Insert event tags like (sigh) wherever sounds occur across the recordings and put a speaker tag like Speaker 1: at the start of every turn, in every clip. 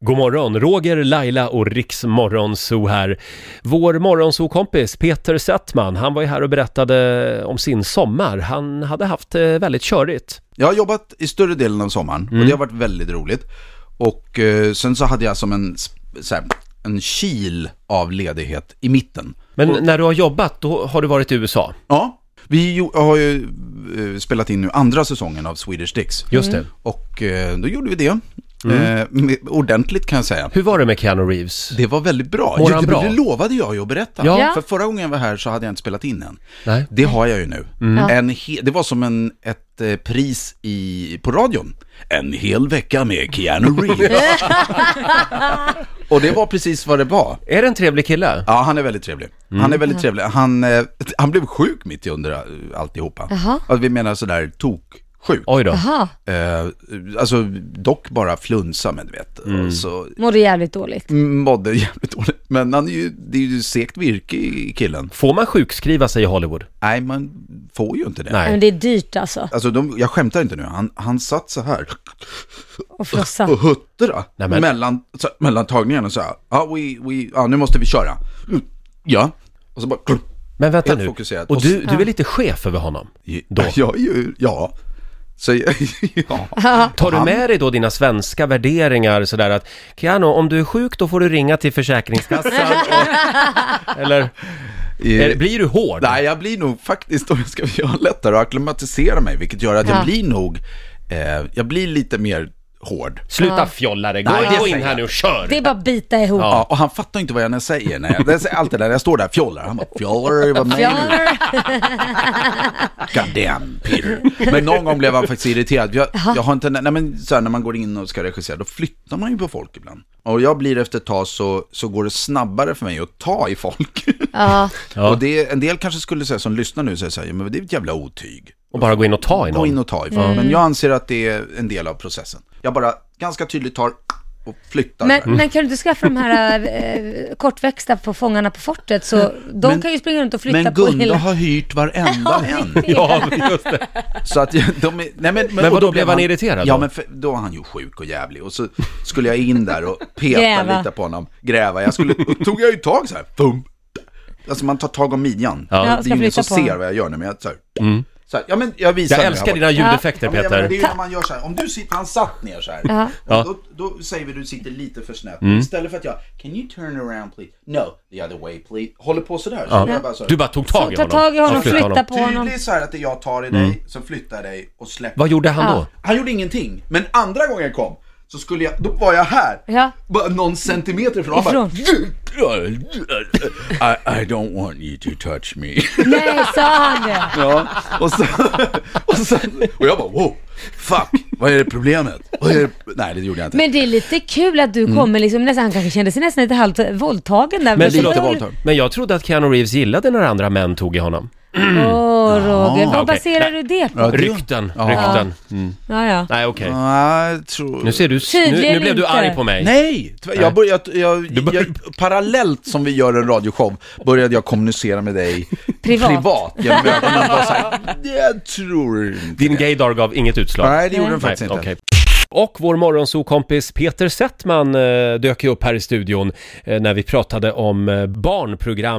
Speaker 1: God morgon, Roger, Laila och Riks Morgonzoo här. Vår morgonzoo-kompis Peter Settman, han var ju här och berättade om sin sommar. Han hade haft det väldigt körigt.
Speaker 2: Jag har jobbat i större delen av sommaren
Speaker 1: Mm.
Speaker 2: och det har varit väldigt roligt. Och eh, sen så hade jag som en, sp- så här, en kil av ledighet i mitten.
Speaker 1: Men när du har jobbat, då har du varit i USA.
Speaker 2: Ja, vi jo- har ju eh, spelat in nu andra säsongen av Swedish Dicks.
Speaker 1: Just det. Mm.
Speaker 2: Och eh, då gjorde vi det. Eh, med, ordentligt kan jag säga.
Speaker 1: Hur var det med Keanu Reeves?
Speaker 2: Det var väldigt bra.
Speaker 1: Mår
Speaker 2: Jo,
Speaker 1: han
Speaker 2: det,
Speaker 1: bra?
Speaker 2: det lovade jag ju att berätta.
Speaker 1: Ja.
Speaker 2: För förra gången jag var här så hade jag inte spelat in än.
Speaker 1: Nej.
Speaker 2: Det har jag ju nu.
Speaker 3: Mm. Ja.
Speaker 2: En he- det var som en, ett eh, pris i, på radion. En hel vecka med Keanu
Speaker 3: (laughs)
Speaker 2: Reeves. Och det var precis vad det var.
Speaker 1: Är det en trevlig kille?
Speaker 2: Ja, han är väldigt trevlig.
Speaker 3: Mm.
Speaker 2: Han är väldigt trevlig. Han, eh, han blev sjuk mitt i under eh, alltihopa.
Speaker 3: Jaha.
Speaker 2: Alltså, vi menar sådär toksjuk.
Speaker 1: Oj då.
Speaker 3: Jaha,
Speaker 2: Eh, alltså dock bara flunsa, men du vet.
Speaker 3: Mm.
Speaker 2: Och så
Speaker 3: mådde jävligt dåligt.
Speaker 2: mådde jävligt dåligt. Men han är ju, det är ju segt virke i killen.
Speaker 1: Får man sjukskriva sig i Hollywood?
Speaker 2: Nej, man får ju inte det.
Speaker 3: Men
Speaker 1: Nej.
Speaker 3: det är dyrt alltså,
Speaker 2: Alltså de, jag skämtar inte nu, han, han satt så här
Speaker 3: att frossa.
Speaker 2: och huttrade
Speaker 1: Ah. Nej, men-
Speaker 2: mellan, så, mellan tagningarna så här. Ja, we, we, ja, nu måste vi köra. Mm, Ja, och så bara...
Speaker 1: Men vänta
Speaker 2: Helt
Speaker 1: nu.
Speaker 2: fokuserad.
Speaker 1: Och
Speaker 2: Och
Speaker 1: du, du är lite chef över honom. Då.
Speaker 2: Jag är ju, (laughs) ja.
Speaker 1: (laughs)
Speaker 2: Så (laughs) jag, ja.
Speaker 1: Tar du
Speaker 2: Han-
Speaker 1: med dig då dina svenska värderingar sådär att Keanu, om du är sjuk då får du ringa till
Speaker 2: (laughs)
Speaker 1: Försäkringskassan och, Eller? Är, blir du hård?
Speaker 2: Nej, jag blir nog faktiskt, om jag ska göra lättare att acklimatisera mig, vilket gör att
Speaker 3: Ja.
Speaker 2: jag blir nog, eh, jag blir lite mer hård.
Speaker 1: Sluta fjolla dig, gå,
Speaker 2: Nej, det
Speaker 1: gå in
Speaker 2: säger
Speaker 1: här
Speaker 2: jag.
Speaker 1: nu och kör!
Speaker 3: Det är bara att bita ihop.
Speaker 2: Ja, och han fattar inte vad jag säger när jag, det är alltid när jag står där, fjollar, han bara fjollar, vad menar du?
Speaker 3: Fjallar.
Speaker 2: God damn, Peter. Men någon gång blev han faktiskt irriterad. Jag, jag har inte, nej, men så här, när man går in och ska regissera, då flyttar man ju på folk ibland. Och jag blir efter ett tag så, så går det snabbare för mig att ta i folk.
Speaker 3: Ja.
Speaker 1: Ja.
Speaker 2: Och det, en del kanske skulle säga, som lyssnar nu, säga så här, "Ja, men det är ett jävla otyg.
Speaker 1: Och bara gå in och ta i
Speaker 2: Gå in
Speaker 1: någon.
Speaker 2: och ta i folk.
Speaker 3: Mm.
Speaker 2: Men jag anser att det är en del av processen. Jag bara ganska tydligt tar och flyttar.
Speaker 3: Men,
Speaker 2: så här.
Speaker 3: men kan du inte skaffa de här eh, kortväxta på Fångarna på fortet? Så de
Speaker 2: Men-
Speaker 3: kan ju springa runt och flytta
Speaker 2: men
Speaker 3: på
Speaker 2: Gunde
Speaker 3: hela...
Speaker 2: har hyrt varenda en. (laughs)
Speaker 1: (laughs) Ja, just det.
Speaker 2: Så att (laughs) jag- de är, nej men, men,
Speaker 1: vadå,
Speaker 2: och
Speaker 1: blev han irriterad
Speaker 2: Ja,
Speaker 1: då?
Speaker 2: men för, då var han ju sjuk och jävlig. Och så skulle jag in där och peta
Speaker 3: Gräva.
Speaker 2: lite på honom, gräva. Jag skulle, och tog jag ju tag så här, Bum. Alltså man tar tag om midjan.
Speaker 1: Ja, Mm.
Speaker 2: det är
Speaker 3: ska
Speaker 2: ju ingen
Speaker 3: flytta
Speaker 2: som ser
Speaker 3: på honom.
Speaker 2: vad jag gör nu, men jag så här, så här, ja, men jag visar
Speaker 1: Jag
Speaker 2: nu,
Speaker 1: älskar
Speaker 2: har
Speaker 1: dina
Speaker 2: varit-
Speaker 1: ljudeffekter
Speaker 2: Ja, men, ja, men det är
Speaker 1: Peter.
Speaker 2: ju när man gör så här, om du sitter, han satt ner så här.
Speaker 1: Ja. Mm.
Speaker 2: Och då, då säger vi du sitter lite för snett. Istället för att jag, can you turn around please? No, the other way please. Håller på sådär. Så
Speaker 1: Ja.
Speaker 2: jag bara så här,
Speaker 1: Du bara tog
Speaker 3: Så
Speaker 1: tag i
Speaker 3: ta
Speaker 1: honom.
Speaker 3: tag i
Speaker 1: Ja,
Speaker 3: honom, flytta på honom.
Speaker 2: Tydligt så här att det är jag tar i dig, så flyttar jag dig och släpper.
Speaker 1: Mm. Vad gjorde han då?
Speaker 2: Han gjorde ingenting, men andra gången jag kom så skulle jag, då var jag här.
Speaker 3: Ja.
Speaker 2: Bara någon centimeter ifrån. Han
Speaker 3: Ifrån.
Speaker 2: Bara, I, I don't want you to touch me.
Speaker 3: Nej, sa han det?
Speaker 2: Ja, (laughs) och så, och så, och jag bara wow, fuck, vad är det problemet? Vad är det? Nej det gjorde jag inte.
Speaker 3: Men det är lite kul att du
Speaker 2: Mm.
Speaker 3: kommer liksom nästan, han kanske kände sig nästan lite halvt våldtagen där.
Speaker 1: Men,
Speaker 3: Så
Speaker 2: lite
Speaker 3: då-
Speaker 2: våldtagen.
Speaker 1: men jag trodde att Keanu Reeves gillade när andra män tog i honom.
Speaker 3: Åh Roger, vad
Speaker 2: Mm. okej.
Speaker 3: baserar du det på?
Speaker 2: Ja, det-
Speaker 1: Rykten,
Speaker 2: Ja.
Speaker 1: rykten. Mm.
Speaker 3: Ja, ja.
Speaker 1: Nej, okej.
Speaker 2: Nej, jag tror...
Speaker 1: Nu ser du, nu,
Speaker 3: Tydligen
Speaker 1: nu blev du
Speaker 3: inte.
Speaker 1: arg på mig.
Speaker 2: Nej, tyvärr, jag började, jag, jag,
Speaker 1: började-
Speaker 2: parallellt som vi gör en radioshow började jag kommunicera med dig
Speaker 3: (laughs) Privat.
Speaker 2: genom ögonen och bara så här, jag tror inte
Speaker 1: Din
Speaker 2: det."
Speaker 1: gaydar gav inget utslag.
Speaker 2: Nej, det gjorde den
Speaker 3: Nej.
Speaker 2: faktiskt inte.
Speaker 1: okej. Och vår morgonsokompis Peter Settman eh, dök ju upp här i studion eh, när vi pratade om eh,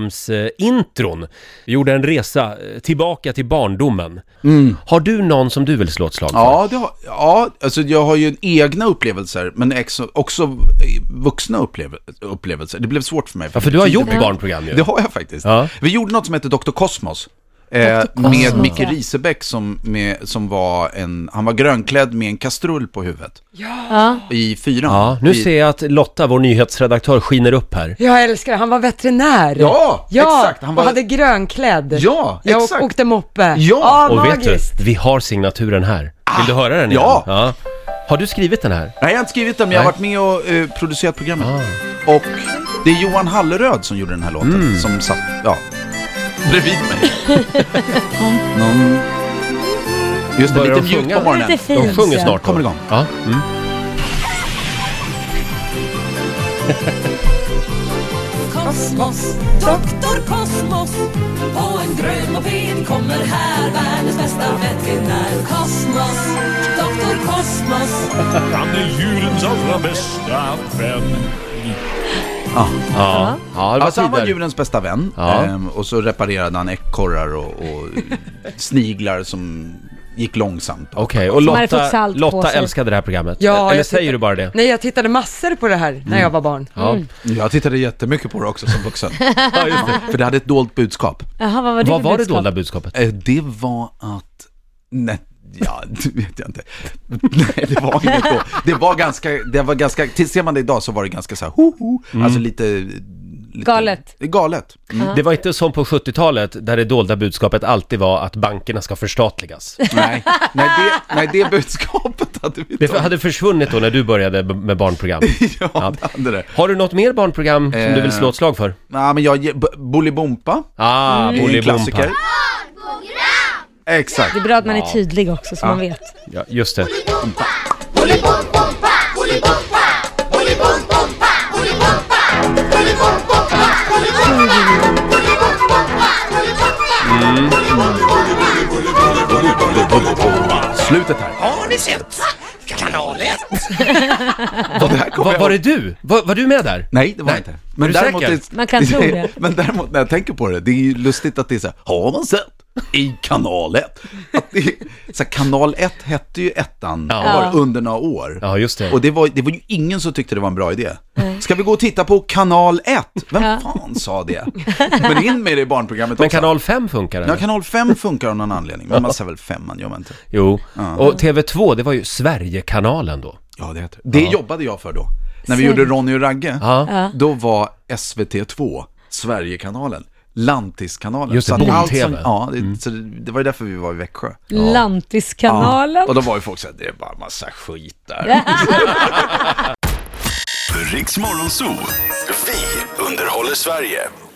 Speaker 1: barnprogramsintron. Vi gjorde en resa eh, tillbaka till barndomen. Har du någon som du vill slå ett slag för?
Speaker 2: Mm. Ja, det har, ja, alltså jag har ju egna upplevelser, men ex- också eh, vuxna upplev- upplevelser. Det blev svårt för mig.
Speaker 1: Ja, för du har gjort
Speaker 2: Tiden-
Speaker 1: barnprogram ju.
Speaker 2: Det har jag faktiskt.
Speaker 1: Ja.
Speaker 2: Vi gjorde något som hette Dr. Kosmos. Eh, med
Speaker 3: Kosmos,
Speaker 2: Micke
Speaker 3: ja.
Speaker 2: Risebäck som, med, som var en, han var grönklädd med en kastrull på huvudet.
Speaker 3: Ja.
Speaker 2: I fyran.
Speaker 1: Ja, nu
Speaker 2: I,
Speaker 1: ser jag att Lotta, vår nyhetsredaktör, skiner upp här.
Speaker 4: Jag älskar det. han var veterinär.
Speaker 2: Ja, exakt. Han
Speaker 4: Han
Speaker 2: var-
Speaker 4: och hade grönklädd.
Speaker 2: Ja,
Speaker 4: jag
Speaker 2: exakt.
Speaker 4: Jag åkte moppe.
Speaker 2: Ja.
Speaker 4: ah,
Speaker 1: Och vet
Speaker 4: magiskt.
Speaker 1: du, vi har signaturen här. Vill du höra den igen?
Speaker 2: Ah, ja.
Speaker 1: ja! Har du skrivit den här?
Speaker 2: Nej, Ah. jag har inte skrivit den, men jag har varit med och eh, producerat programmet. Och det är Johan Halleröd som gjorde den här låten, som satt, ja, bredvid (laughs) mig. Någon... Just det,
Speaker 1: Börjar
Speaker 2: lite
Speaker 1: de
Speaker 2: mjukt
Speaker 1: sjunga?
Speaker 2: på morgonen.
Speaker 3: Lite fint.
Speaker 1: De sjunger
Speaker 3: Ja.
Speaker 1: snart. då.
Speaker 2: Kommer igång.
Speaker 1: Ja. Mm.
Speaker 5: Kosmos, doktor Kosmos. På en grön moped kommer här världens bästa veterinär. Kosmos, doktor Kosmos.
Speaker 6: Han är djurens allra bästa vän.
Speaker 1: Ja, ja det var
Speaker 2: Alltså han var
Speaker 1: tider.
Speaker 2: djurens bästa vän
Speaker 1: Ja.
Speaker 2: ehm, och så reparerade han ekorrar och, och sniglar som gick långsamt.
Speaker 1: Okej, och
Speaker 3: Som hade fått
Speaker 1: Lotta,
Speaker 3: salt på
Speaker 1: Lotta
Speaker 3: sig.
Speaker 1: älskade det här programmet.
Speaker 4: Ja,
Speaker 1: Eller
Speaker 4: jag
Speaker 1: säger
Speaker 4: tyckte-
Speaker 1: du bara det?
Speaker 4: Nej, jag tittade massor på det här när jag var barn.
Speaker 1: Ja.
Speaker 2: Jag tittade jättemycket på det också som (laughs) vuxen,
Speaker 1: ja, just det.
Speaker 2: för det hade ett dolt budskap.
Speaker 3: Jaha, vad var det
Speaker 1: Vad
Speaker 3: för
Speaker 1: var det
Speaker 3: budskap?
Speaker 1: dolda budskapet?
Speaker 2: Eh, Det var att... Nej, ja, (laughs) det vet jag inte. Nej, det var inget då. Det var ganska, det var ganska, till ser man det idag så var det ganska så här, ho, ho,
Speaker 1: Mm.
Speaker 2: alltså lite... lite
Speaker 3: Galet.
Speaker 2: Galet. Mm.
Speaker 1: Det var inte som på 70-talet där det dolda budskapet alltid var att bankerna ska förstatligas.
Speaker 2: Nej, nej, det, nej, det budskapet hade vi
Speaker 1: Det
Speaker 2: tagit.
Speaker 1: hade försvunnit då när du började b- med barnprogram.
Speaker 2: Ja, det hade det.
Speaker 1: Har du något mer barnprogram som du vill slå ett slag för?
Speaker 2: Nej, men jag, ge- B- Bolibompa
Speaker 1: Ah,
Speaker 2: är en Mm. klassiker.
Speaker 1: Bolibompa.
Speaker 2: Exakt.
Speaker 3: Det är bra att man är tydlig också så man vet.
Speaker 1: Ja, just det.
Speaker 2: Slutet här.
Speaker 6: Har ni sett? Kanal 1.
Speaker 2: Och det här kommer
Speaker 1: Va,
Speaker 2: jag
Speaker 1: var det
Speaker 2: ihåg.
Speaker 1: du? Va, var du med där?
Speaker 2: Nej, det var
Speaker 1: Nej.
Speaker 2: inte.
Speaker 1: Är du säker?
Speaker 3: Man
Speaker 2: (laughs)
Speaker 3: kan tro det.
Speaker 2: Men däremot när jag tänker på det, det är ju lustigt att det är så här, har man sett? I kanal 1. Att det är, så här, kanal 1 hette ju ettan
Speaker 1: Ja.
Speaker 2: var under några år.
Speaker 1: Ja, just det.
Speaker 2: Och det var, det var ju ingen som tyckte det var en bra idé. Ska vi gå och titta på kanal 1? Vem fan sa det? Men in med det i barnprogrammet
Speaker 1: Men
Speaker 2: också.
Speaker 1: kanal 5 funkar
Speaker 2: Ja,
Speaker 1: eller?
Speaker 2: kanal 5 funkar av någon anledning. Men man säger väl femman, gör man inte?
Speaker 1: Jo. Och TV2, det var ju Sverigekanalen då.
Speaker 2: Ja, det heter det. Det jobbade jag för då. När vi gjorde Ronny och Ragge, då var SVT2 Sverigekanalen. Lantiskanalen.
Speaker 1: Just det,
Speaker 2: Så att allt
Speaker 1: bond-tv.
Speaker 2: som- Ja, det, så det, det var ju därför vi var i Växjö.
Speaker 3: Lantiskanalen.
Speaker 2: Och då var ju folk såhär, det är bara massa skit där.
Speaker 7: (laughs) Riks Morgonzoo. Vi underhåller Sverige.